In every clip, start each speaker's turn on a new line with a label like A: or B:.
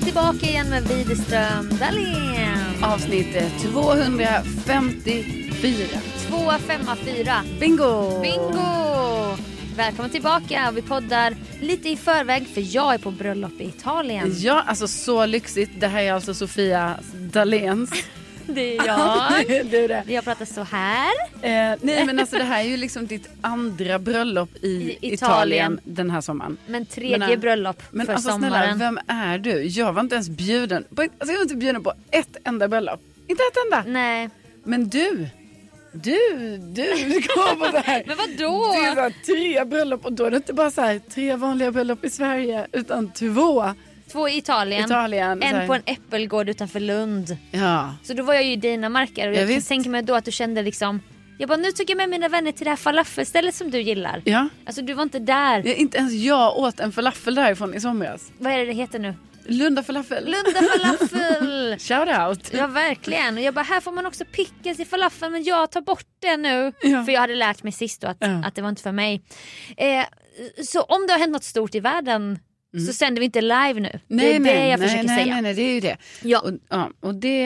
A: tillbaka igen med Widerström Dahlén.
B: Avsnitt eh, 254.
A: Tvåa, femma, fyra.
B: Bingo!
A: Bingo! Välkommen tillbaka. Vi poddar lite i förväg för jag är på bröllop i Italien.
B: Ja, alltså så lyxigt. Det här är alltså Sofia Dahléns.
A: Det är
B: det är du det.
A: Jag pratar så här.
B: Eh, nej men alltså det här är ju liksom ditt andra bröllop i,
A: I
B: Italien.
A: Italien.
B: den här sommaren.
A: Men tredje
B: Men, äh,
A: bröllop
B: Men
A: för
B: alltså snälla,
A: sommaren.
B: vem är du? Jag var inte ens bjuden på, alltså jag var inte bjuden på ett enda bröllop. Inte ett enda.
A: Nej.
B: Men du, du, du kommer på det här.
A: Men vadå?
B: Det är så här, tre bröllop och då är det inte bara så här, tre vanliga bröllop i Sverige utan två
A: Två i Italien.
B: Italien. så här.
A: En på en äppelgård utanför Lund.
B: Ja.
A: Så då var jag ju i Dinamarca och
B: Ja,
A: jag kan
B: visst.
A: tänka mig då att du kände liksom jag bara nu tog jag med mina vänner till det här falafelstället som du gillar.
B: Ja.
A: Alltså du var inte där.
B: Ja, Inte ens jag åt en falafel därifrån i somras.
A: Vad är det det heter nu?
B: Lunda falafel.
A: Lunda falafel!
B: Shout out.
A: Ja verkligen. Och jag bara här får man också pickas i falafeln men jag tar bort det nu.
B: Ja.
A: För jag hade lärt mig sist då att,
B: Ja.
A: att det var inte för mig. Eh, så om det har hänt något stort i världen så sänder vi inte live nu. det är det jag
B: Mm. nej,
A: försöker
B: nej,
A: säga.
B: Nej, nej, det är ju det.
A: Ja.
B: Och, ja, och det,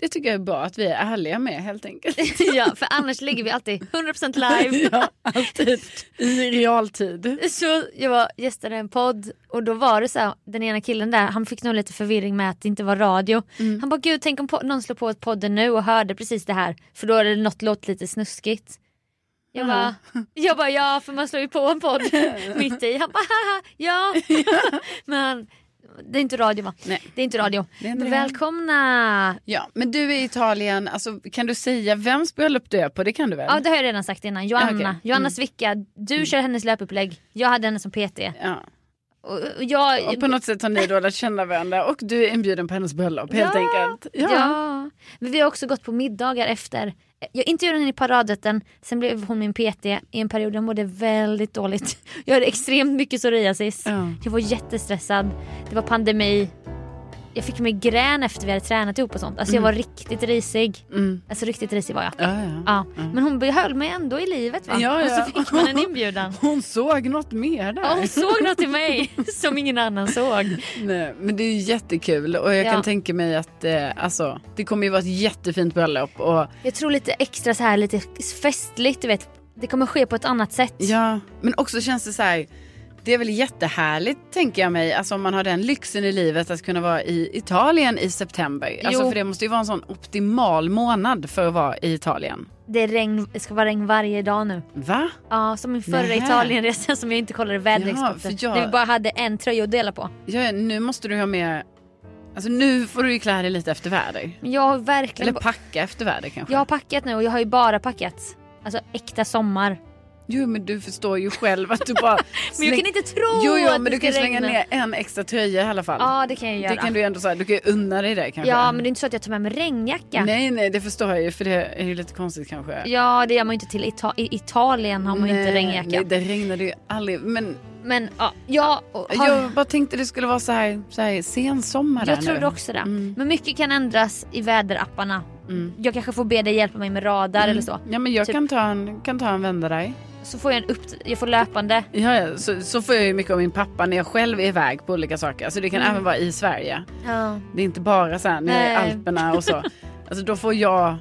B: det tycker jag är bra att vi är ärliga med helt enkelt.
A: ja, för annars ligger vi alltid 100% live.
B: ja, alltid i realtid.
A: Så jag var, gästade en podd och då var det så här, den ena killen där, han fick nog lite förvirring med att det inte var radio.
B: Mm.
A: Han bara gud tänk om po- någon slår på podden nu och hörde precis det här för då hade något låtit lite snuskigt. Jag bara, jag bara ja för man slår ju på en podd mitt i. Han bara haha ja. Men han, det är inte radio va?
B: Nej.
A: Det är inte radio.
B: Det är inte
A: Men
B: det.
A: välkomna!
B: Ja, men du är i Italien, alltså, kan du säga vems bröllop du är på? Det kan du väl?
A: Ja det har jag redan sagt innan,
B: Ja,
A: Johanna.
B: okej. Mm.
A: Johanna Svicka, du kör hennes löpupplägg, jag hade henne som PT.
B: Ja.
A: Och, och jag,
B: Och på något sätt har ni då lärt känna varandra och du är inbjuden på hennes bröllop helt
A: Ja.
B: enkelt.
A: Ja. Men vi har också gått på middagar efter. Jag intervjuade henne i paradrätten, sen blev hon min PT i en period jag mådde väldigt dåligt. Jag hade extremt mycket psoriasis.
B: Ja.
A: Jag var jättestressad. Det var pandemi. Jag fick migrän efter vi hade tränat ihop och sånt. Alltså jag var riktigt risig.
B: Mm.
A: Alltså riktigt risig var jag.
B: Ja, ja.
A: Ja. Mm. Men hon behöll mig ändå i livet va?
B: Ja, ja.
A: Och så fick man en inbjudan.
B: Hon såg något mer där.
A: Ja, hon såg något i mig som ingen annan såg.
B: Nej, men det är ju jättekul och jag
A: Ja.
B: kan tänka mig att eh, alltså, det kommer ju vara ett jättefint bröllop. Och,
A: Jag tror lite extra så här lite festligt du vet. Det kommer ske på ett annat sätt.
B: ja, men också känns det så här, det är väl jättehärligt tänker jag mig, alltså, om man har den lyxen i livet att kunna vara i Italien i september. Alltså,
A: Jo.
B: för det måste ju vara en sån optimal månad för att vara i Italien.
A: Det, är regn, det ska vara regn varje dag nu.
B: Va?
A: Ja, som min förra
B: Nähä.
A: Italienresa som jag inte kollade väderexperten.
B: Ja, för jag-
A: Där vi bara hade en tröja att dela på.
B: Ja, ja, nu måste du ha med, alltså, nu får du ju klä dig lite efter väder.
A: Men jag har verkligen...
B: Eller packa efter väder kanske.
A: jag har packat nu och jag har ju bara packat. Alltså äkta sommar.
B: Jo men du förstår ju själv att du bara
A: Men jag
B: släng-
A: kan inte tro
B: Jo, jo
A: att
B: men du
A: det
B: kan ju
A: ska
B: slänga
A: regna.
B: ner en extra tröja i alla fall.
A: Ja, det kan jag göra.
B: Det kan du ju ändå säga, du kan ju unna dig det kanske.
A: Ja, men det är inte så att jag tar med mig regnjacka.
B: Nej, nej, det förstår jag ju för det är ju lite konstigt kanske.
A: Ja, det gör man ju inte till Ita- i Italien har man ju inte
B: Nej,
A: regnjacka.
B: Nej, det regnade ju aldrig. Men
A: Men ja, jag, och, har,
B: jag bara tänkte det skulle vara så här, så här sensommar
A: jag
B: där
A: trodde
B: nu.
A: också det.
B: Mm.
A: Men mycket kan ändras i väderapparna.
B: Mm.
A: Jag kanske får be dig hjälpa mig med radar eller så.
B: Ja men jag
A: Typ.
B: kan, ta en, kan ta en vända där.
A: Så får jag en upp, jag får löpande.
B: Ja, ja, så, så får jag ju mycket av min pappa när jag själv är iväg på olika saker. Alltså det kan
A: Mm.
B: även vara i Sverige.
A: Ja.
B: Det är inte bara så här nere i
A: Nej.
B: Alperna och så. Alltså då får jag,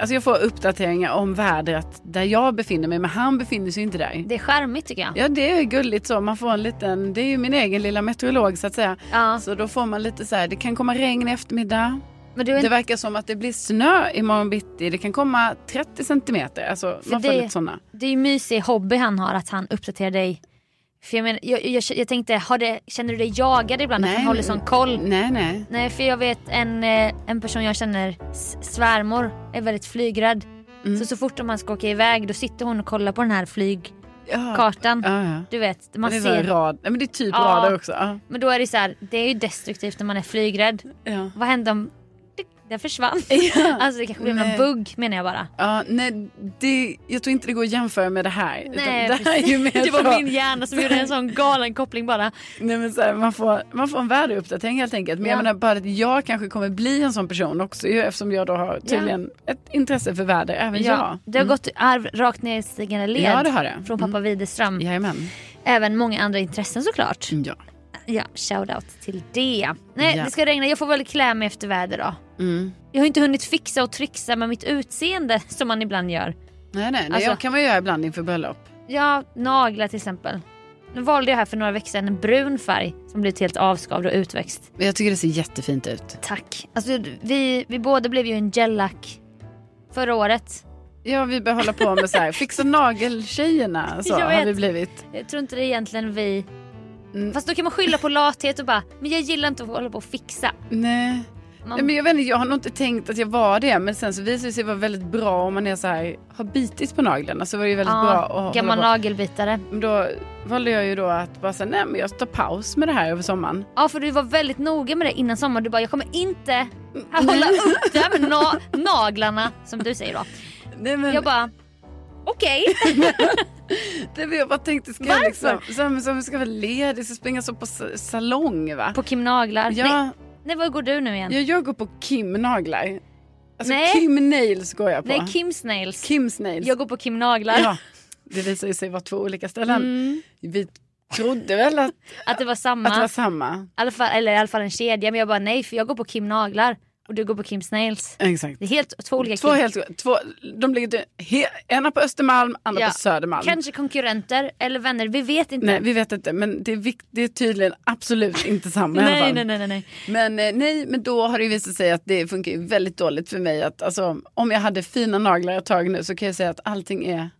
B: alltså jag får uppdateringar om vädret där jag befinner mig men han befinner sig ju inte där.
A: Det är charmigt tycker jag.
B: Ja det är ju gulligt så, man får en liten, det är ju min egen lilla meteorolog så att säga.
A: Ja.
B: Så då får man lite så här, det kan komma regn i eftermiddag.
A: Men du,
B: Det
A: är-
B: verkar som att det blir snö imorgon bitti, det kan komma 30 centimeter. Alltså man får
A: det-
B: lite sådana.
A: det är ju mysig hobby han har att han uppdaterar dig. För jag, menar, jag, jag, jag tänkte, har det, känner du dig jagad ibland att han håller sån koll?
B: Nej nej.
A: Nej för jag vet en, eh, en person jag känner, s- svärmor, är väldigt flygrädd.
B: Mm.
A: Så så fort om man ska åka iväg då sitter hon och kollar på den här flygkartan.
B: Ja. Ja, ja.
A: Du vet, man
B: det är så här
A: ser.
B: rad, nej, men det är typ
A: Ja.
B: rader också. Ja.
A: Men då är det så här, det är ju destruktivt när man är flygrädd.
B: Ja.
A: Vad händer om... Den försvann. Alltså det kanske blir någon
B: Nej.
A: bugg menar jag bara.
B: Ja, nej, det, jag tror inte det går att jämföra med det här. utan
A: Nej,
B: det här är ju mer
A: precis. det var
B: så-
A: min hjärna som gjorde en sån galen koppling bara.
B: nej, men så här, man, får, man får en väderuppdatering helt enkelt. Men
A: Ja.
B: jag menar bara att jag kanske kommer bli en sån person också ju, eftersom jag då har tydligen ett intresse för väder, även
A: Ja,
B: jag.
A: det har gått i arv rakt ner i stigande led
B: Ja, det har det.
A: från pappa Widerström.
B: Jajamän. Mm,
A: Även många andra intressen såklart.
B: Ja.
A: Ja, shoutout till det. Nej,
B: Ja.
A: det ska regna. Jag får väl klä mig efter väder då.
B: Mm.
A: Jag har inte hunnit fixa och trixa med mitt utseende som man ibland gör.
B: Nej, nej, det
A: Alltså-
B: kan man ju göra ibland inför bröllop.
A: Ja, naglar till exempel. Nu valde jag här för några veckor sedan en brun färg som blivit helt avskavd och utväxt.
B: Men Jag tycker det ser jättefint ut.
A: Tack. Alltså, vi, vi båda blev ju en gellack förra året.
B: Ja, vi bör hålla på med så här, fixa nageltjejerna så
A: Jag
B: har vi
A: vet.
B: blivit.
A: Jag tror inte det är egentligen vi.
B: Mm.
A: Fast då kan man skylla på lathet och bara, men jag gillar inte att hålla på och fixa.
B: Nej.
A: Man,
B: nej, men jag vet inte, jag har nog inte tänkt att jag var det. Men sen så visar det sig vara väldigt bra om man är så här, har bitit på naglarna så var det ju väldigt
A: Ja,
B: bra att hålla
A: gammal
B: på.
A: nagelbitare.
B: Men Då valde jag ju då att bara säga nej men jag tar paus med det här över sommaren.
A: Ja för du var väldigt noga med det innan sommaren. Du bara jag kommer inte
B: Mm.
A: hålla upp det här med na- naglarna som du säger då.
B: Nej men
A: Jag bara okej.
B: nej, men jag bara tänkte ska jag
A: Varför?
B: liksom, så här, men så här, ska vara ledig, så springa så på s- salong va?
A: På Kim Naglar. Nej,
B: Ja,
A: nej var går du nu igen?
B: jag, jag går på Kim naglar. Alltså
A: Nej.
B: Kim nails går jag på.
A: Nej Kims nails.
B: Kims nails.
A: Jag går på Kim Naglar.
B: Ja, det visar ju sig vara två olika ställen.
A: Mm.
B: Vi trodde väl att,
A: Att det var samma.
B: att det var samma.
A: I alla fall, eller i alla fall en kedja. Men jag bara nej för jag går på Kim Naglar och du går på Kims nails.
B: Exakt.
A: Det är helt två olika
B: Två
A: Kim.
B: helt, två, de ligger he, ena på Östermalm, andra
A: Ja.
B: på Södermalm.
A: Kanske konkurrenter eller vänner. Vi vet inte.
B: Nej vi vet inte men det är, vikt, det är tydligen absolut inte samma i alla
A: nej,
B: fall.
A: nej, nej, nej, nej.
B: Men eh, nej men då har det ju visat sig att det funkar ju väldigt dåligt för mig att alltså, om jag hade fina naglar ett tag nu så kan jag säga att allting är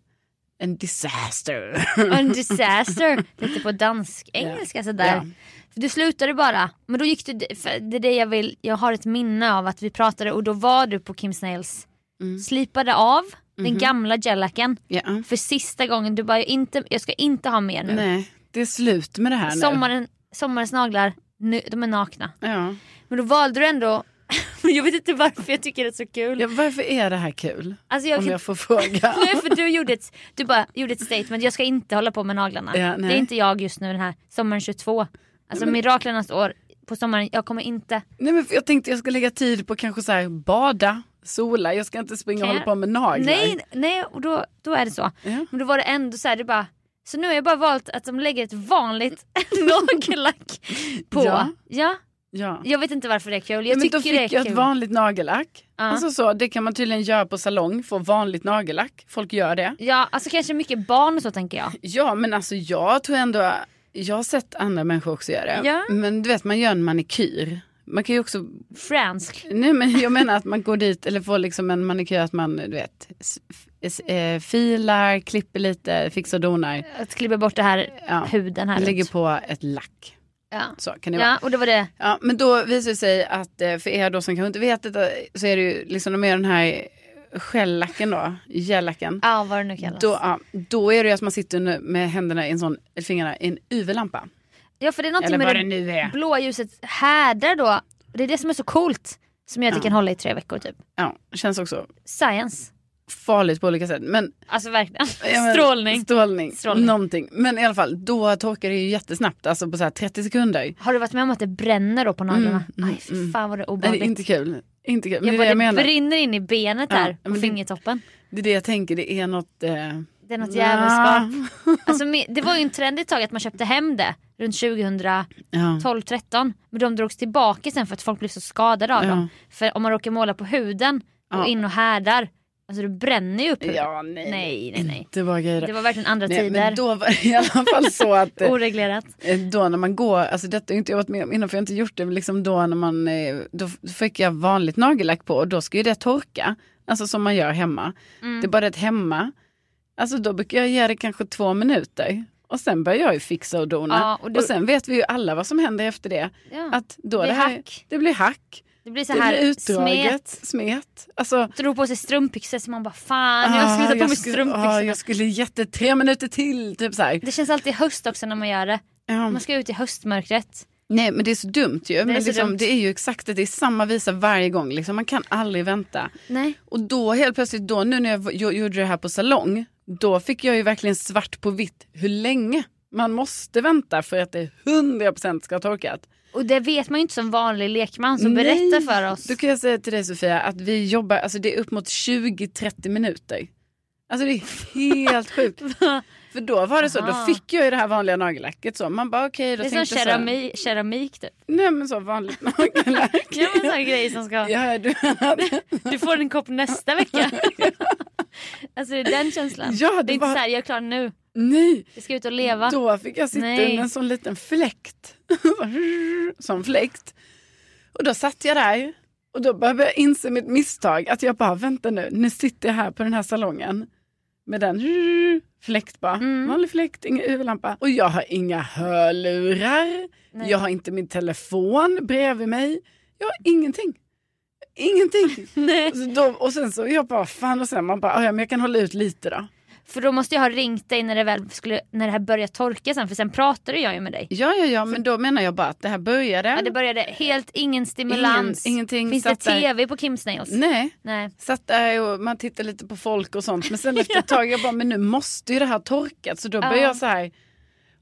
B: en disaster.
A: En disaster. Lite på dansk engelska sådär.
B: Ja.
A: För du slutade bara. Men då gick du, för det är det jag vill, jag har ett minne av att vi pratade och då var du på Kim Snails.
B: Mm. Mhm.
A: Slipade av den gamla gellacken
B: Ja.
A: för sista gången. Du bara, jag, inte, jag ska inte ha mer nu.
B: Nej det är slut med det här nu.
A: Sommaren, sommarens naglar, nu, de är nakna.
B: Ja.
A: Men då valde du ändå, men jag vet inte varför jag tycker det är så kul.
B: ja varför är det här kul?
A: Alltså jag
B: Om
A: kan
B: jag får fråga.
A: Nej för du gjorde ett, du bara gjorde ett statement, jag ska inte hålla på med naglarna.
B: Ja, nej.
A: det är inte jag just nu den här sommaren 22. Alltså miraklernas år på sommaren, jag kommer inte.
B: Nej men för jag tänkte jag ska lägga tid på kanske så här bada, sola, jag ska inte springa
A: Kan
B: och hålla
A: jag-
B: på med naglar.
A: Nej, nej och då, då är det så.
B: Ja.
A: Men då var det ändå så här, du bara, så nu har jag bara valt att de lägger ett vanligt nagellack på.
B: Ja.
A: Ja.
B: Ja.
A: jag vet inte varför det är kul, jag
B: men
A: tycker
B: då fick
A: det är
B: jag
A: kul.
B: ett vanligt nagellack.
A: Ja.
B: Alltså så, det kan man tydligen göra på salong, få vanligt nagellack. Folk gör det.
A: Ja, alltså kanske mycket barn och så tänker jag.
B: Ja men alltså jag tror ändå, jag har sett andra människor också göra det.
A: Ja.
B: Men du vet man gör en manikyr. Man kan ju också,
A: Fransk.
B: nej men jag menar att man går dit eller får liksom en manikyr att man du vet s- s- eh, filar, klipper lite, fixar och donar.
A: Att klippa bort det här
B: Ja.
A: huden här.
B: Lägger
A: runt.
B: på ett lack.
A: Ja.
B: Så kan det vara.
A: ja, och det var det.
B: Ja, men då visar det sig att eh, för er då som kanske inte vet detta så är det ju liksom de är den här skällacken då, gellacken.
A: Ja, vad det nu kallas.
B: Då, ja, då är det ju att man sitter nu med händerna i en sån, eller fingrarna i en UV-lampa.
A: Ja för det är
B: Eller
A: någonting
B: vad
A: med
B: det
A: det
B: nu är.
A: blåa ljuset härdar då. Det är det som är så coolt. Som gör att det kan hålla i tre veckor typ.
B: Ja, känns också
A: Science.
B: farligt på olika sätt. Men,
A: Alltså verkligen.
B: ja, men,
A: Strålning.
B: Strålning.
A: Strålning.
B: Någonting. Men i alla fall, då torkar det ju jättesnabbt, alltså på så här 30 sekunder.
A: Har du varit med om att det bränner då på naglarna?
B: mm,
A: Nej fy
B: mm.
A: fan vad det är
B: Nej, det
A: obehagligt.
B: är inte kul. Inte kul.
A: jag
B: Men det, är
A: bara,
B: det, jag
A: det
B: menar.
A: brinner in i benet
B: Ja,
A: där
B: men
A: på
B: det-
A: fingertoppen.
B: det är det jag tänker, det är något... Eh...
A: Det är något
B: Nja.
A: jävelskap. Alltså, me- det var ju en trend ett tag att man köpte hem det runt 2012-13.
B: Ja.
A: Men de drogs tillbaka sen för att folk blev så skadade av
B: Ja.
A: dem. För om man råkar måla på huden och
B: Ja.
A: in och härdar, alltså du bränner ju upp huden.
B: ja, nej.
A: Nej, nej, nej.
B: Det var grejer.
A: Det var verkligen andra
B: Nej,
A: tider.
B: men då var det i alla fall så att eh,
A: Oreglerat.
B: eh, då när man går, alltså detta har ju inte jag varit med om innan för jag har inte gjort det, men liksom då när man, eh, då fick jag vanligt nagellack på och då ska ju det torka, alltså som man gör hemma.
A: Mm.
B: Det är bara det att hemma, alltså då brukar jag ge det kanske två minuter och sen börjar jag ju fixa och dona.
A: Ja, och
B: och,
A: då-
B: sen vet vi ju alla vad som händer efter det,
A: Ja.
B: att
A: Det
B: då det,
A: blir
B: här,
A: hack.
B: det blir hack,
A: det blir så
B: det blir
A: här smet.
B: utdraget, smet, alltså
A: Drog på sig strumpbyxor så man bara fan jag har
B: ah,
A: slutat på
B: jag
A: mig
B: skulle-
A: strumpbyxorna.
B: ah, jag skulle gett det tre minuter till, typ så här.
A: Det känns alltid höst också när man gör det.
B: Ja.
A: Man ska ut i höstmörkret.
B: Nej men det är så dumt ju. men
A: är så
B: liksom,
A: dumt.
B: det är ju exakt det, det är samma visa varje gång. Liksom. Man kan aldrig vänta.
A: Nej.
B: Och då helt plötsligt, då, nu när jag v- gjo- gjorde det här på salong, då fick jag ju verkligen svart på vitt hur länge man måste vänta för att det 100% ska ha torkat.
A: Och det vet man ju inte som vanlig lekman som
B: Nej.
A: berättar Alltså, för oss.
B: Då kan jag säga till dig Sofia att vi jobbar, alltså det är upp mot 20-30 minuter. Alltså det är helt sjukt. För då var det så,
A: Aha.
B: då fick jag ju det här vanliga nagellacket så. Man bara okej,
A: Det
B: då
A: är som
B: tänkte jag så. här,
A: kerami, keramik typ.
B: Nej men så vanligt nagellack.
A: Ja men sån grej som ska...
B: ja, du,
A: Du får en kopp nästa vecka. alltså det är den känslan.
B: ja,
A: det är
B: det
A: inte
B: var,
A: såhär, jag är klar nu.
B: nej.
A: Jag ska ut och leva.
B: Då fick jag sitta
A: Nej.
B: i en sån liten fläkt. Som fläkt. Och då satt jag där. Och då började jag inse mitt misstag. Att jag bara, vänta nu, nu sitter jag här på den här salongen. Med den fläkt bara.
A: Mm.
B: Vanlig fläkt, ingen UV-lampa. Och jag har inga hörlurar.
A: Nej.
B: Jag har inte min telefon bredvid mig. Jag har ingenting. Ingenting.
A: Nej.
B: Så då, och sen så jag bara, fan och sen man bara, "Ah, ja, men jag kan hålla ut lite då.
A: För då måste jag ha ringt dig när det, väl skulle, när det här börjar torka sen för sen pratade jag ju med dig.
B: Ja, ja, ja, men då menar jag bara att det här började.
A: Ja, det började helt ingen stimulans.
B: Ingen- ingenting
A: Finns det
B: satt där.
A: tv på Kim Snails?
B: Nej,
A: Nej.
B: satt där och man tittade lite på folk och sånt. Men sen efter ett tag jag bara, men nu måste ju det här torka. Så då började
A: Ja.
B: jag så här.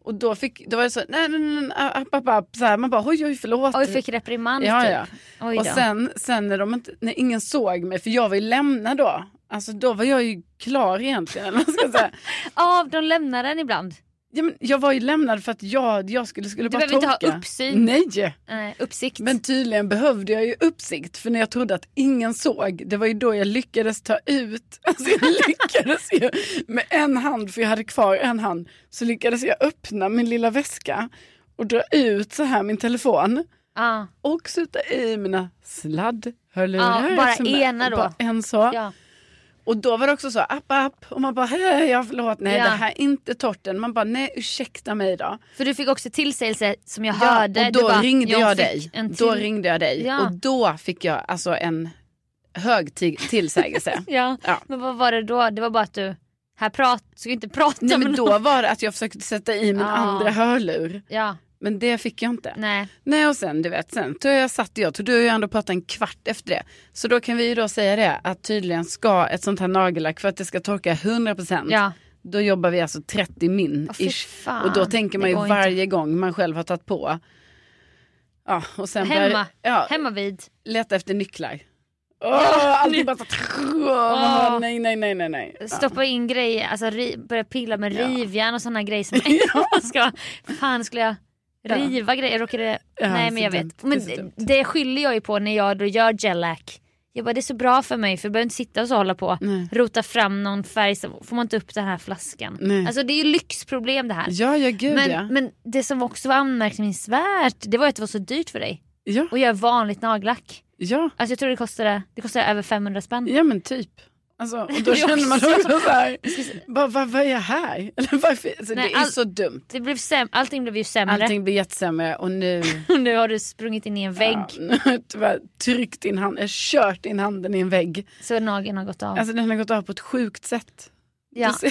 B: Och då, fick, då var det så, nej, nej, nej, nej, app, app, app. Så här, man bara, oj, oj, förlåt.
A: Oj, fick reprimand
B: ja,
A: typ.
B: ja.
A: Oj då.
B: Och sen, sen när, de inte, när ingen såg mig, för jag var ju lämnad då. Alltså då var jag ju klar egentligen. eller vad man ska säga.
A: Av, de lämnar den ibland.
B: Ja, men jag var ju lämnad för att jag, jag skulle, skulle
A: Du
B: bara
A: behöver inte ha
B: torka.
A: uppsyn.
B: Nej.
A: Nej, Eh, uppsikt.
B: Men tydligen behövde jag ju uppsikt för när jag trodde att ingen såg, det var ju då jag lyckades ta ut, alltså jag lyckades ju med en hand, för jag hade kvar en hand, så lyckades jag öppna min lilla väska och dra ut så här min telefon
A: Ja,
B: och sluta i mina sladdhörlurar.
A: Ja, bara
B: som-
A: ena då.
B: Bara en så.
A: ja.
B: Och då var det också så, app app, och man bara, hej, ja, förlåt, nej
A: Ja.
B: det här är inte torten. Man bara, nej ursäkta mig då.
A: För du fick också tillsägelse som jag
B: Ja,
A: hörde.
B: och då
A: du bara,
B: ringde jag,
A: fick
B: dig.
A: en
B: Då
A: till-
B: ringde jag dig
A: Ja.
B: och då fick jag alltså en hög till- tillsägelse.
A: Ja.
B: Ja.
A: men vad var det då? Det var bara att du, här prat, ska inte prata
B: Nej,
A: med
B: men
A: någon.
B: då var det att jag försökte sätta i min
A: Ja.
B: andra hörlur.
A: Ja,
B: Men det fick jag inte. Nej,
A: nej.
B: och sen du vet, sen tror jag satt jag, tror du har ju ändå pratat en kvart efter det. Så då kan vi ju då säga det att tydligen ska ett sånt här nagellack för att det ska torka 100%
A: Ja.
B: då jobbar vi alltså 30 min
A: Åh, fy
B: ish.
A: fan,
B: Och då tänker man
A: det
B: ju
A: går inte.
B: varje gång man själv har tagit på. Ja, och sen börjar-
A: Hemma.
B: ja,
A: Hemma vid.
B: Leta efter nycklar. Åh, allting bara så... Åh, nej, nej, nej, nej, nej. Ja.
A: Stoppa in grejer, alltså ri, börja pilla med
B: Ja.
A: rivjärn och sådana grejer som man ska, fan skulle jag
B: Ja.
A: riva grejer, jag råkade,
B: Ja,
A: nej men
B: så
A: jag
B: dumt.
A: vet.
B: Det är
A: Men
B: så
A: det,
B: dumt.
A: det skyller jag ju på när jag då gör gellack. Jag bara det är så bra för mig för jag behöver inte sitta och så hålla på,
B: Nej.
A: rota fram någon färg så får man inte upp den här flaskan.
B: Nej.
A: Alltså det är ju lyxproblem det här.
B: Ja, ja, gud
A: men,
B: ja.
A: men det som också var anmärkningsvärt det var ju att det var så dyrt för dig
B: Ja,
A: att göra vanligt nagellack.
B: ja.
A: Alltså jag tror det kostade, det kostade över 500 spänn.
B: Ja, men typ. Alltså, och då
A: Det
B: känner man
A: också.
B: också så här, vad va, va är jag här? Eller varför? Alltså,
A: Nej,
B: det är
A: all-
B: så dumt.
A: Det blev säm- allting blev ju sämre.
B: Allting blir jättesämre och nu,
A: Och nu har du sprungit in i en vägg
B: ja, nu har jag tyvärr tryckt in handen, kört in handen i en vägg.
A: så nageln har gått av.
B: Alltså den har gått av på ett sjukt sätt.
A: ja.
B: Du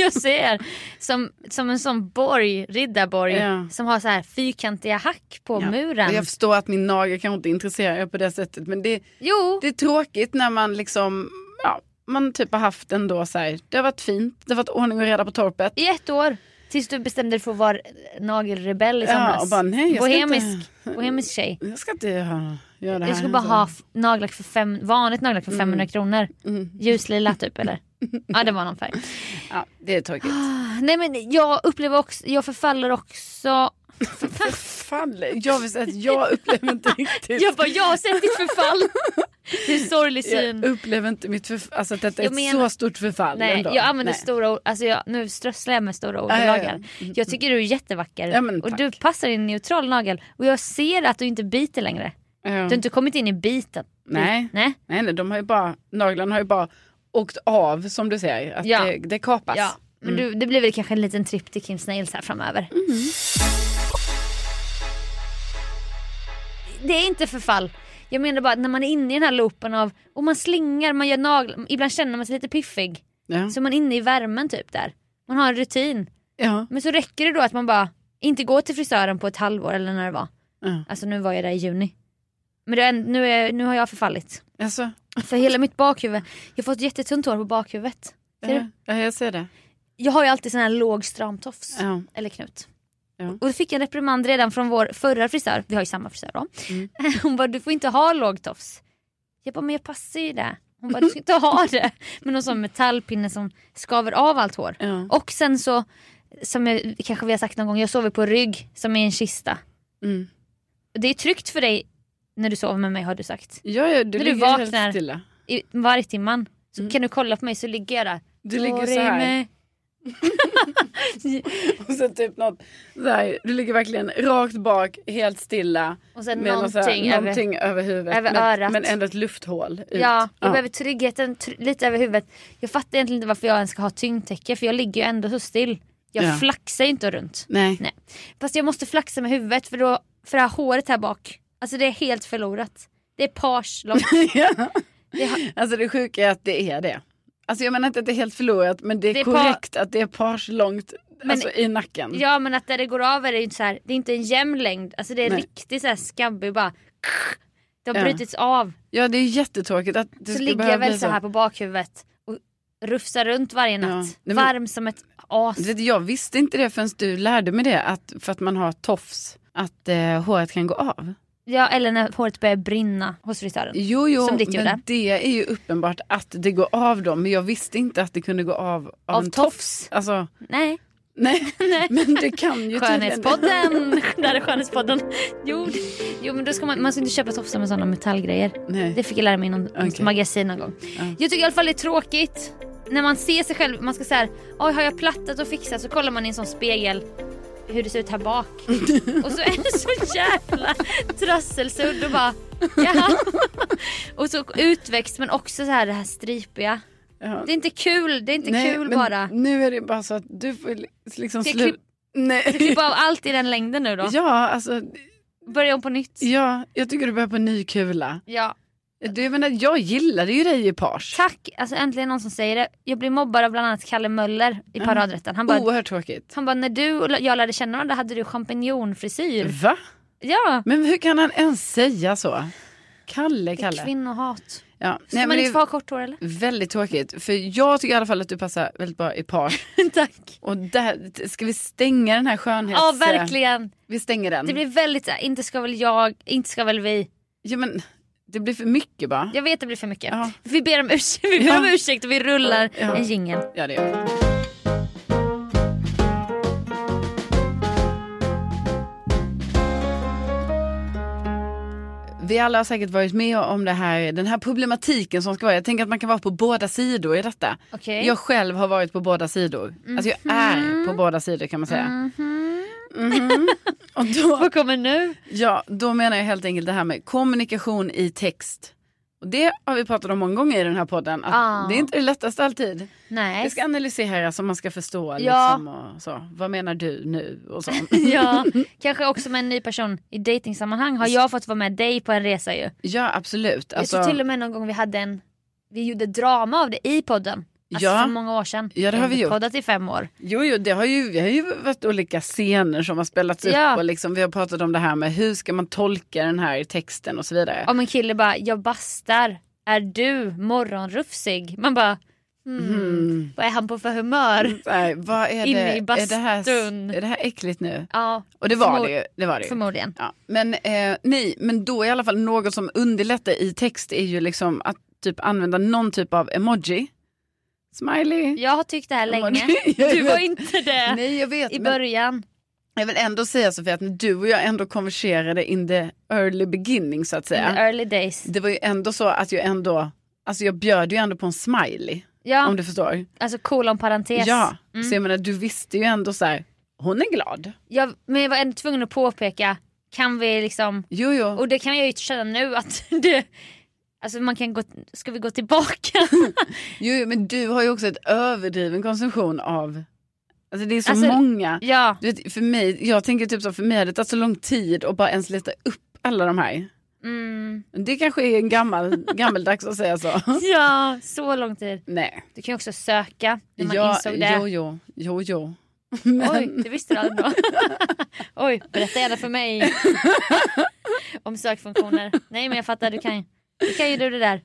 A: jag ser. Som, som en sån borg, riddarborg,
B: Ja.
A: som har så här fyrkantiga hack på
B: Ja.
A: muren.
B: Och Jag förstår att min nagel kanske inte intresserar er på det sättet men det,
A: Jo,
B: Det är tråkigt när man liksom, ja, man typ har haft en då så här, det har varit fint, det har varit ordning och reda på torpet.
A: i ett år. Tills du bestämde dig för att vara nagelrebell i somras.
B: Ja, och bara nej, jag ska
A: bohemisk,
B: inte,
A: bohemisk tjej.
B: jag ska inte göra, göra det här.
A: Jag skulle bara
B: alltså.
A: ha f- nagellack för fem, vanligt nagellack för 500 kronor.
B: Mm.
A: Ljuslila typ eller? ja det var någon färg.
B: Ja, det är tråkigt.
A: Nej men jag upplever också, jag förfaller också.
B: Fan, jag vill säga att jag upplever inte riktigt.
A: Jag bara jag har sett ditt förfall. Det är en sorglig syn.
B: jag upplever inte mitt förf- alltså att detta är
A: Jag
B: ett
A: menar-
B: så stort förfall
A: Nej,
B: ändå.
A: jag använder
B: Nej.
A: stora ord. Alltså jag, nu strösslar jag med stora ord och
B: Ja, ja, ja.
A: naglar. Jag tycker du är jättevacker.
B: Ja, men
A: och
B: tack.
A: du passar i en neutral nagel. Och jag ser att du inte biter längre.
B: Ja.
A: Du har inte kommit in i biten.
B: Mm. Nej.
A: Nej.
B: nej, nej, de har ju bara, naglarna har ju bara åkt av som du säger, att
A: Ja.
B: det, det kapas.
A: Ja. Men du,
B: Mm.
A: det blir väl kanske en liten tripp till Kim Snails här framöver.
B: Mm-hmm.
A: Det är inte förfall. Jag menar bara att när man är inne i den här loopen av, och man slingar, man gör naglar, ibland känner man sig lite piffig.
B: Ja.
A: Så man är inne i värmen typ där. Man har en rutin.
B: Ja.
A: Men så räcker det då att man bara inte går till frisören på ett halvår eller när det var.
B: Ja.
A: Alltså nu var jag där i juni. Men det är, nu, är, nu har jag förfallit.
B: Alltså,
A: För hela mitt bakhuvud, jag har fått jättetunt hår på bakhuvudet. Ser
B: ja.
A: du?
B: ja, jag ser det.
A: Jag har ju alltid sån här låg stramtofs.
B: Ja.
A: Eller knut.
B: Ja.
A: Och då fick jag en reprimand redan från vår förra frisör, vi har ju samma frisör då.
B: Mm.
A: Hon bara du får inte ha låg tofs. Jag bara men jag passar ju det. Hon Hon bara du ska inte ha det. Men någon sån metallpinne som skaver av allt hår.
B: Ja.
A: Och sen så, som jag, kanske vi har sagt någon gång, jag sover på rygg som i en kista.
B: Mm.
A: Det är tryggt för dig när du sover med mig har du sagt.
B: Ja, ja, du
A: När du
B: ligger helt
A: vaknar.
B: stilla.
A: I vargtimman. Så
B: Mm.
A: kan du kolla på mig så ligger jag där.
B: Du ligger så här.
A: Dorime.
B: Och så typ något, så här. Du ligger verkligen rakt bak, helt stilla.
A: Och sen
B: Med någonting,
A: någonting,
B: här,
A: över.
B: någonting över, huvudet.
A: över örat.
B: men, men ändå ett lufthål ut.
A: Ja, jag behöver tryggheten tr- lite över huvudet. Jag fattar egentligen inte varför jag ens ska ha tyngdtäcke för jag ligger ju ändå så still. Jag
B: Ja.
A: flaxar ju inte runt.
B: Nej.
A: Nej. Fast jag måste flaxa med huvudet för, då, för det här håret här bak, alltså det är helt förlorat. Det är page långt.
B: ja.
A: Det har-
B: Alltså det sjuka är att det är det. Alltså jag menar inte att det är helt förlorat men det är,
A: Det är par-
B: korrekt att det är pars långt
A: Men-
B: alltså, i nacken.
A: Ja men att där det går av är det ju inte så här, det är inte en jämn längd. Alltså det är
B: Nej.
A: riktigt så här skabbig bara. Det har
B: Ja.
A: brutits av.
B: Ja det är jättetråkigt att det
A: så
B: ska
A: ligger jag
B: behöva
A: väl
B: bli
A: så här på bakhuvudet och rufsar runt varje
B: Ja.
A: natt.
B: Nej, men-
A: Varm som ett as.
B: Du vet, Jag visste inte det förrän du lärde mig det, att för att man har tofs, att eh, håret kan gå av.
A: Ja eller när håret börjar brinna hos frisören.
B: Jo, jo,
A: Som ditt
B: men
A: gjorde.
B: det är ju uppenbart att det går av dem, men jag visste inte att det kunde gå av av,
A: Av
B: en
A: tofs.
B: tofs. Alltså,
A: Nej.
B: nej,
A: Nej.
B: men det kan ju
A: Skönhetspodden! Där är skönhetspodden. Jo, jo men då ska man, man ska inte köpa tofsar med sådana metallgrejer.
B: Nej.
A: Det fick jag lära mig i någon
B: Okej.
A: magasin någon gång. Jag tycker i alla fall det är tråkigt när man ser sig själv, man ska säga oj har jag plattat och fixat så kollar man i en sån spegel hur det ser ut här bak. och så är det så jävla trasselsudd och bara jaha. och så utväxt men också så här det här stripiga.
B: Ja.
A: Det är inte kul, det är inte
B: Nej,
A: kul
B: men
A: bara.
B: Nu är det bara så att du får li- liksom
A: Ska jag
B: slu-
A: klipp-
B: Nej.
A: Klipp av allt i den längden nu då.
B: Ja, alltså,
A: Börja om på nytt.
B: ja, jag tycker du börjar på ny kula.
A: Ja.
B: Du, jag, menar, jag gillade ju dig i pars.
A: Tack! Alltså äntligen någon som säger det. Jag blir mobbad av bland annat Kalle Möller i paradrätten. Han bara,
B: Oerhört tråkigt.
A: han bara när du och jag lärde känna varandra hade du champinjonfrisyr.
B: Va?
A: Ja!
B: Men hur kan han ens säga så? Kalle, Kalle.
A: Kvinnohat.
B: Ja.
A: Ska
B: Nej,
A: man
B: men det
A: inte få
B: är
A: ha kort hår eller?
B: väldigt tråkigt. För jag tycker i alla fall att du passar väldigt bra i pars.
A: Tack!
B: Och där, ska vi stänga den här skönhets...
A: Ja verkligen!
B: Vi stänger den.
A: Det blir väldigt så här, inte ska väl jag, inte ska väl vi.
B: Ja, men, det blir för mycket bara.
A: Jag vet det blir för mycket.
B: Ja.
A: Vi ber om ursäkt, vi ber
B: Ja.
A: om ursäkt och vi rullar
B: Ja.
A: en jingel.
B: Ja, det gör vi. Vi alla har säkert varit med om det här, den här problematiken som ska vara. Jag tänker att man kan vara på båda sidor i detta.
A: Okej. Mhm.
B: Jag själv har varit på båda sidor. Alltså jag är på båda sidor kan man säga.
A: Mm.
B: Mhm. Och då,
A: Vad kommer nu?
B: ja, då menar jag helt enkelt det här med kommunikation i text. Och det har vi pratat om många gånger i den här podden. Att
A: Ah.
B: Det är inte det lättaste alltid.
A: Nej.
B: Det ska analyseras om man ska förstå.
A: Ja.
B: Liksom, och så. Vad menar du nu? Och så.
A: Ja, kanske också med en ny person i dejtingsammanhang har jag fått vara med dig på en resa ju.
B: ja, absolut. Alltså,
A: Jag tror till och med någon gång vi hade en, vi gjorde drama av det i podden. Alltså
B: Ja.
A: för många år sedan.
B: Ja, det har vi gjort.
A: poddat i fem år.
B: jo, jo, det har ju, vi har ju varit olika scener som har spelats
A: Ja.
B: upp. Och liksom, vi har pratat om det här med hur ska man tolka den här texten och så vidare.
A: Om en kille bara, jag bastar, är du morgonrufsig? Man bara, hmm,
B: Mm.
A: vad är han på för humör?
B: Så här, vad är
A: Inne
B: det?
A: i
B: Är det, här,
A: bastun.
B: är det här äckligt nu?
A: Ja,
B: Och det var
A: Förmo-
B: det ju. Det var det ju.
A: förmodligen.
B: Ja, men eh, nej, men då i alla fall något som underlättar i text är ju liksom att typ använda någon typ av emoji. Smiley.
A: Jag har tyckt det här länge.
B: Emoji. Jag
A: Du var
B: vet.
A: inte det
B: Nej jag vet,
A: i
B: men
A: början.
B: jag vill ändå säga Sofia att när du och jag ändå konverserade in the early beginning så att
A: In the
B: säga.
A: early days.
B: Det var ju ändå så att jag ändå, alltså jag bjöd ju ändå på en smiley.
A: Ja,
B: Om du förstår.
A: alltså kolon parentes.
B: Ja,
A: Mm.
B: så jag menar du visste ju ändå så här, hon är glad.
A: Jag, men jag var ändå tvungen att påpeka, kan vi liksom
B: Jo jo.
A: Och det kan jag ju känna nu att det, alltså man kan gå, ska vi gå tillbaka?
B: Jo, jo, men du har ju också ett överdriven konsumtion av, alltså det är så
A: Alltså-
B: många.
A: ja,
B: Du vet, för mig, jag tänker typ så, för mig hade det tagit så lång tid att bara ens leta upp alla de här.
A: mm,
B: Men Det kanske är en gammal, gammeldags att säga så.
A: ja, så lång tid.
B: Nej.
A: Du kan ju också söka när man
B: Ja,
A: insåg det.
B: Jo, jo, jo, jo.
A: Oj, det visste du aldrig då. Oj, berätta gärna för mig om sökfunktioner. Nej men jag fattar, du kan ju, du kan ju du det där.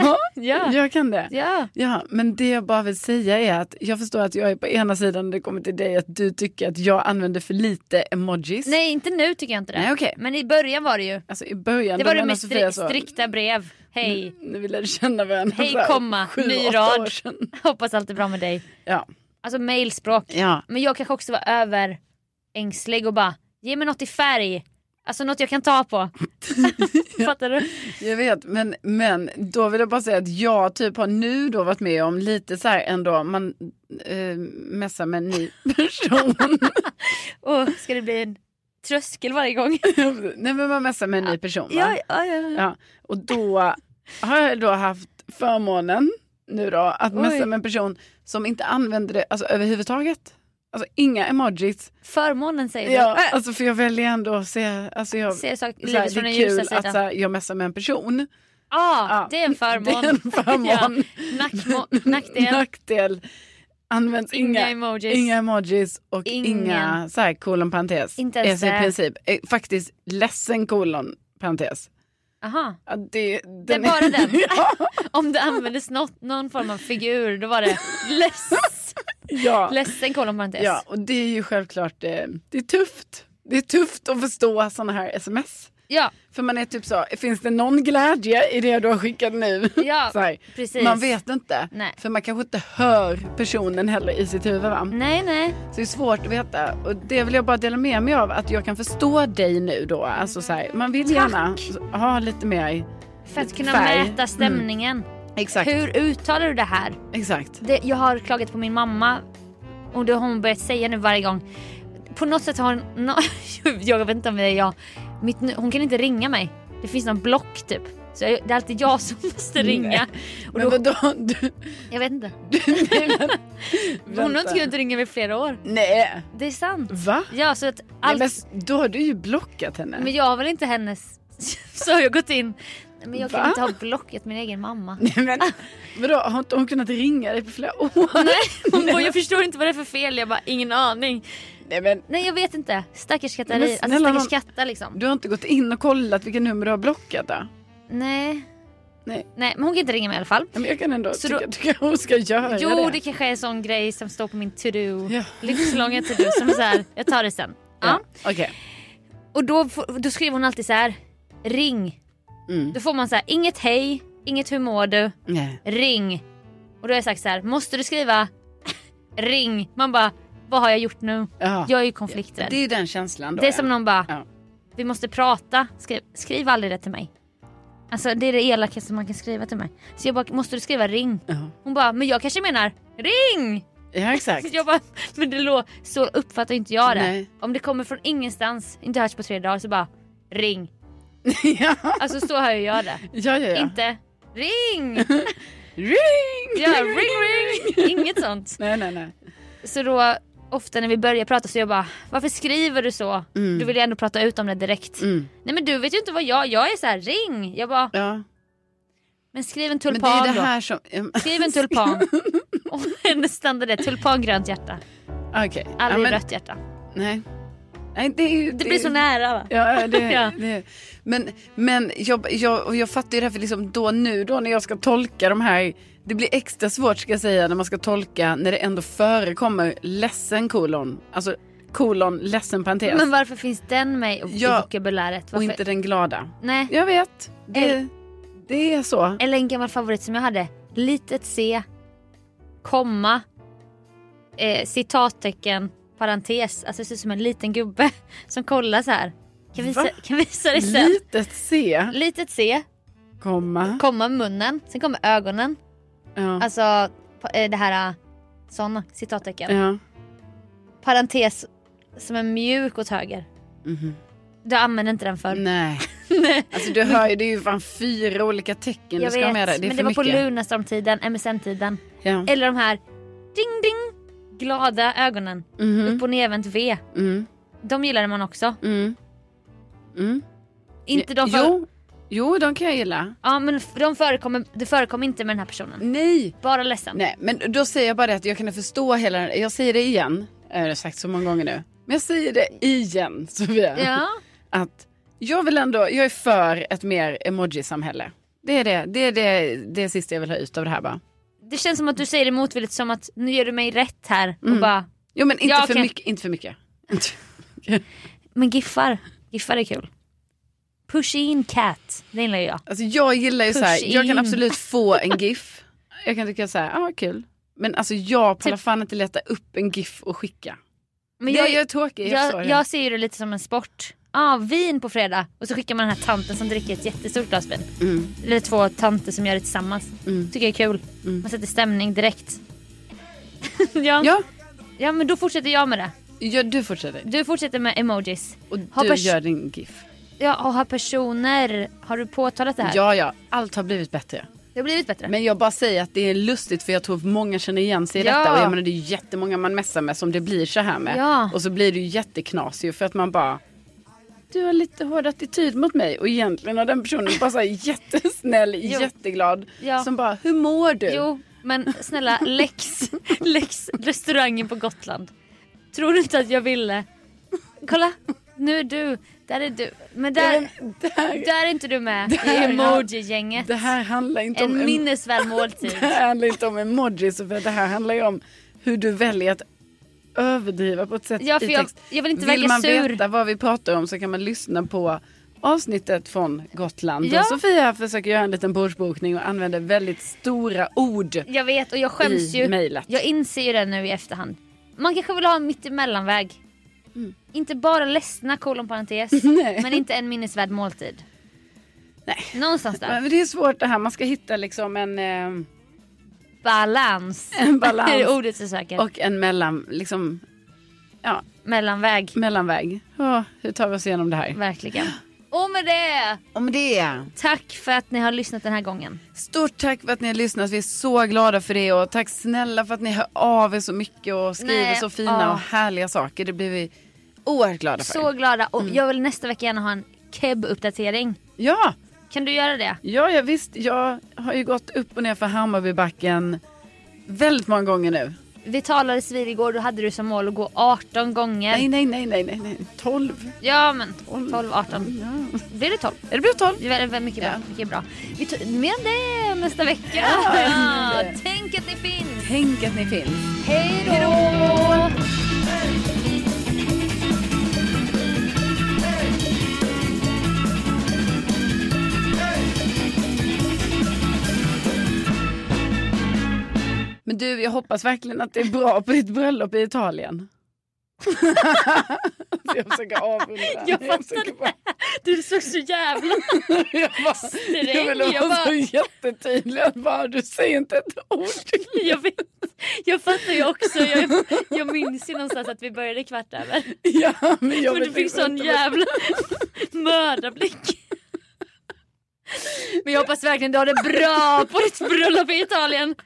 B: Ja,
A: Ja,
B: jag kan det.
A: ja.
B: Ja, men det jag bara vill säga är att jag förstår att jag är på ena sidan när det kommer till dig att du tycker att jag använder för lite emojis.
A: Nej inte nu tycker jag inte det.
B: Nej, okej.
A: Men i början var det ju.
B: Alltså i början
A: Det
B: då
A: var det
B: menar
A: med
B: Sofia
A: stri-
B: så- Mm.
A: strikta brev. Hej.
B: Nu vi lärde känna varandra
A: Hej,
B: så här
A: komma,
B: sju,
A: ny
B: åtta
A: rad.
B: år sedan.
A: Hoppas allt är bra med dig.
B: Ja.
A: Alltså mailspråk.
B: ja.
A: Men jag kanske också var överängslig och bara ge mig något i färg. Alltså något jag kan ta på. Fattar du?
B: Jag vet, men, men då vill jag bara säga att jag typ har nu då varit med om lite så här ändå, man eh, messar med en ny person.
A: Och ska det bli en tröskel varje gång?
B: Nej men man messar med en ny person. Va?
A: Ja, ja, ja.
B: Ja, och då har jag då haft förmånen nu då att
A: Oj.
B: messa med en person som inte använder det alltså, överhuvudtaget. Alltså inga emojis.
A: Förmånen säger
B: Ja,
A: du. Äh,
B: alltså, för jag väljer ändå att se, alltså jag,
A: Ser saker,
B: så här,
A: livet
B: det
A: från den
B: är kul
A: ljusa
B: att så
A: sidan. Ja,
B: här, jag messar med en person.
A: ah,
B: Ja,
A: det är en
B: Det är en
A: förmån.
B: förmån.
A: Nackmo- nackdel.
B: Nackdel. Används
A: Inga
B: inga,
A: emojis.
B: inga emojis och
A: Ingen.
B: inga så här, kolon parentes.
A: Inte ens
B: Alltså, i
A: det.
B: princip, eh, faktiskt ledsen kolon parentes.
A: Aha.
B: Ja, det, den
A: Det är bara den.
B: ja,
A: Om det användes något, någon form av figur då var det less,
B: ja.
A: ledsen kolon parentes.
B: Ja, och det är ju självklart, eh, det är tufft. Det är tufft att förstå sådana här sms.
A: Ja,
B: För man är typ så, finns det någon glädje i det du har skickat nu?
A: Ja,
B: så här.
A: precis.
B: Man vet inte,
A: Nej.
B: för man kanske inte hör personen heller i sitt huvud. Va?
A: nej nej.
B: Så det är svårt att veta och det vill jag bara dela med mig av, att jag kan förstå dig nu då. Alltså så här, man vill gärna ha lite mer.
A: För att kunna
B: Färg.
A: mäta stämningen.
B: Exakt.
A: Hur uttalar du det här?
B: Exakt.
A: Det, jag har klagat på min mamma och det har hon börjat säga nu varje gång. På något sätt har hon... nå- jag vet inte om det är jag. Mitt, nu- hon kan inte ringa mig. Det finns någon block typ. Så jag, det är alltid jag som måste ringa. Och
B: Men
A: då,
B: vadå? Du,
A: jag vet inte.
B: nej, men,
A: Hon har
B: vänta.
A: inte kunnat ringa mig i flera år.
B: Nej,
A: Det är sant.
B: va?
A: Ja, så att
B: Nej,
A: allt,
B: men s- då har du ju blockat henne.
A: men jag har väl inte hennes... Så har jag gått in. Men jag kan
B: Va?
A: inte ha blockat min egen mamma.
B: Nej, men, vadå, har inte hon kunnat ringa dig på flera år?
A: Hon bara, jag förstår inte vad det är för fel. Jag bara, ingen aning.
B: Nej, men,
A: Nej jag vet inte. Stackars
B: Men
A: Katarina. Alltså
B: snälla
A: stackars
B: nån-
A: Katta liksom.
B: du har inte gått in och kollat vilka nummer du har blockat då?
A: Nej.
B: Nej.
A: Nej men hon kan inte ringa mig i alla fall.
B: Nej, Men jag kan ändå
A: Så
B: tycka
A: då-
B: att du kanske ska göra
A: Jo
B: det.
A: det kanske är en sån grej som står på min to-do.
B: Ja.
A: Livslånga to-do som är så här, jag tar det sen. Ja.
B: Ja, Okej.
A: Och då, får- då skriver hon alltid så här, ring.
B: Mm.
A: Då får man så här, inget hej, inget hur mår du,
B: Nej.
A: ring. Och då har jag sagt så här, måste du skriva ring? Man bara, vad har jag gjort nu?
B: Ja.
A: Jag är ju konflikträdd.
B: Det är ju den känslan då.
A: Det är
B: ja.
A: som någon bara,
B: Ja.
A: vi måste prata, skriv, skriv aldrig det till mig. Alltså det är det elakaste man kan skriva till mig. Så jag bara, måste du skriva ring?
B: Ja.
A: Hon bara, men jag kanske menar ring!
B: Ja, exakt.
A: Så jag bara, men det lå, så uppfattar inte jag det.
B: Nej.
A: Om det kommer från ingenstans, inte hörts på tre dagar, så bara ring.
B: ja,
A: Alltså så hör ju jag det.
B: ja, ja. ja.
A: Inte ring!
B: Ring!
A: Ja, ring ring! Inget sånt.
B: Nej, nej, nej.
A: Så då, ofta när vi börjar prata så jag bara, varför skriver du så?
B: Mm.
A: Du vill ju ändå prata ut om det direkt.
B: Mm.
A: Nej men du vet ju inte vad jag, jag är så här ring. Jag bara,
B: Ja.
A: men skriv en
B: Men det är
A: tulpan
B: ju det
A: då.
B: här som...
A: Skriv en tulpan. Och hennes standard är tulpan grönt hjärta.
B: Okej. Ja,
A: Aldrig
B: men-
A: rött hjärta.
B: Nej. Nej, det är ju...
A: Det blir så nära va?
B: Ja, det,
A: Ja.
B: det. Men, men jag, jag, och jag fattar ju det här för liksom då nu då när jag ska tolka de här, det blir extra svårt ska jag säga när man ska tolka när det ändå förekommer ledsen kolon, alltså kolon ledsen parentes
A: Men varför finns den med i
B: Ja.
A: vokabuläret? Varför?
B: och inte den glada.
A: Nej.
B: Jag vet, det,
A: Eller-
B: det är så.
A: Eller en gammal favorit som jag hade. Litet C, komma, eh, citattecken, parentes. Alltså det ser ut som en liten gubbe som kollar så här. Kan visa,
B: Va?
A: kan visa det sen.
B: Litet C,
A: Litet C,
B: komma.
A: komma munnen, sen kommer ögonen.
B: Ja.
A: Alltså pa- eh, det här eh, sån citattecken.
B: Ja.
A: Parentes som är mjuk åt höger.
B: Mhm.
A: Du använder inte den för.
B: Nej,
A: Nej.
B: alltså du hör ju det är ju fan fyra olika tecken
A: Jag
B: du ska ha
A: vet,
B: med dig. Det är
A: men
B: för
A: det var på
B: mycket.
A: Lunarstorm-tiden, MSN-tiden.
B: Ja.
A: Eller de här ding ding glada ögonen.
B: Mhm.
A: Upp och nervänt V.
B: Mm.
A: De gillade man också.
B: Mm. Mm.
A: Inte de för-
B: jo, jo, de kan jag gilla.
A: Ja men f- de förekommer, det förekom inte med den här personen.
B: Nej.
A: Bara ledsen.
B: Nej, men då säger jag bara det att jag kan förstå hela Jag säger det igen. Jag har sagt så många gånger nu. Men jag säger det igen, Sofia.
A: Ja.
B: Att jag vill ändå, jag är för ett mer emoji-samhälle. Det är det, det är det, det är sista jag vill ha ut av det här bara.
A: Det känns som att du säger det motvilligt som att nu gör du mig rätt här och
B: Mm.
A: bara
B: Jo men inte
A: Ja,
B: för
A: okej.
B: mycket, inte för mycket.
A: men giffar. Giffar är kul. Push in cat, det gillar jag.
B: Alltså jag gillar ju
A: Push
B: så här, jag
A: in.
B: kan absolut få en GIF. Jag kan tycka så här, ja ah, kul. Men alltså jag pallar fan inte leta upp en GIF och skicka.
A: Men
B: det, jag,
A: jag,
B: jag är tråkig, jag, förstår
A: jag,
B: det.
A: jag ser ju det lite som en sport. Ja, ah, vin på fredag och så skickar man den här tanten som dricker ett jättestort glas vin.
B: Mm,
A: Eller två tanter som gör det tillsammans.
B: mm.
A: Tycker jag är kul.
B: Mm.
A: Man sätter stämning direkt. ja, ja.
B: Ja,
A: men då fortsätter jag med det.
B: ja, du fortsätter.
A: Du fortsätter med emojis.
B: Och
A: Har
B: du
A: pers-
B: gör din GIF.
A: Ja, och har personer. Har du påtalat det här?
B: Ja, ja, allt har blivit bättre.
A: Det har blivit bättre.
B: Men jag bara säger att det är lustigt för jag tror många känner igen sig i
A: Ja.
B: detta. Och jag menar det är ju jättemånga man messar med som det blir så här med.
A: Ja.
B: Och så blir det ju jätteknasigt för att man bara du har lite hård attityd mot mig och egentligen har den personen bara så här jättesnäll, jätteglad.
A: Ja.
B: Som bara, hur mår du?
A: Jo, men snälla Lex, Lex restaurangen på Gotland. Tror du inte att jag ville? Kolla, nu är du. Där är du. Men där,
B: Det, här,
A: där är inte du med i
B: Där-
A: emoji-gänget.
B: det här handlar inte om
A: En
B: en,
A: minnesvärd måltid.
B: det här handlar inte om emojis för det här handlar ju om hur du väljer att överdriva på ett sätt
A: Ja, för
B: i
A: jag,
B: text.
A: jag vill inte
B: Vill
A: verka
B: man
A: sur.
B: veta vad vi pratar om så kan man lyssna på avsnittet från Gotland.
A: Ja.
B: Och Sofia försöker göra en liten bordsbokning och använder väldigt stora ord
A: Jag vet och jag skäms
B: i
A: ju.
B: mejlet.
A: Jag inser ju det nu i efterhand. Man kanske vill ha en mittemellanväg.
B: Mm.
A: Inte bara ledsna kolon parentes.
B: Nej.
A: men inte en minnesvärd måltid.
B: Nej.
A: Någonstans där.
B: Men det är svårt det här, man ska hitta liksom en, eh,
A: Balans.
B: en
A: Det är
B: balans
A: ordet jag söker.
B: och en mellan, liksom, ja,
A: Mellanväg.
B: mellanväg. Ja, hur tar vi oss igenom det här?
A: Verkligen. Och med det,
B: Om det.
A: tack för att ni har lyssnat den här gången.
B: Stort tack för att ni har lyssnat, vi är så glada för det och tack snälla för att ni hör av er så mycket och skriver
A: Nej,
B: så fina
A: ja.
B: och härliga saker. Det blir vi oerhört glada för. Mm.
A: Så glada och jag vill nästa vecka gärna ha en keb-uppdatering.
B: Ja,
A: Kan du göra det?
B: ja, ja, visst. Jag har ju gått upp och ner för Hammarbybacken väldigt många gånger nu.
A: Vi talades vid igår, då hade du som mål att gå 18 gånger.
B: Nej, nej, nej, nej, nej, nej. 12.
A: Ja men
B: Tolv.
A: 12, 18.
B: Ja.
A: Blir det 12?
B: Det blir 12.
A: Det är väldigt mycket bra.
B: Ja.
A: Mycket bra. Vi tar med det nästa vecka.
B: Ja.
A: Ja, Tänk att ni finns.
B: Tänk att ni finns.
A: Hej då!
B: Men du, jag hoppas verkligen att det är bra på ditt bröllop i Italien. Så jag försöker avrunda.
A: Jag
B: försöker
A: fattade
B: bara-
A: det. Du såg så jävla...
B: Jag, bara, jag ville
A: jag
B: vara så
A: bara-
B: jättetydlig. att Bara, du säger inte ett ord.
A: Jag vet. Jag fattar ju också. Jag, jag minns ju någonstans att vi började kvart över.
B: Ja, men jag
A: Men
B: vet
A: du fick
B: inte
A: sån
B: vad-
A: jävla mördarblick. Men jag hoppas verkligen du har det bra på ditt bröllop i Italien.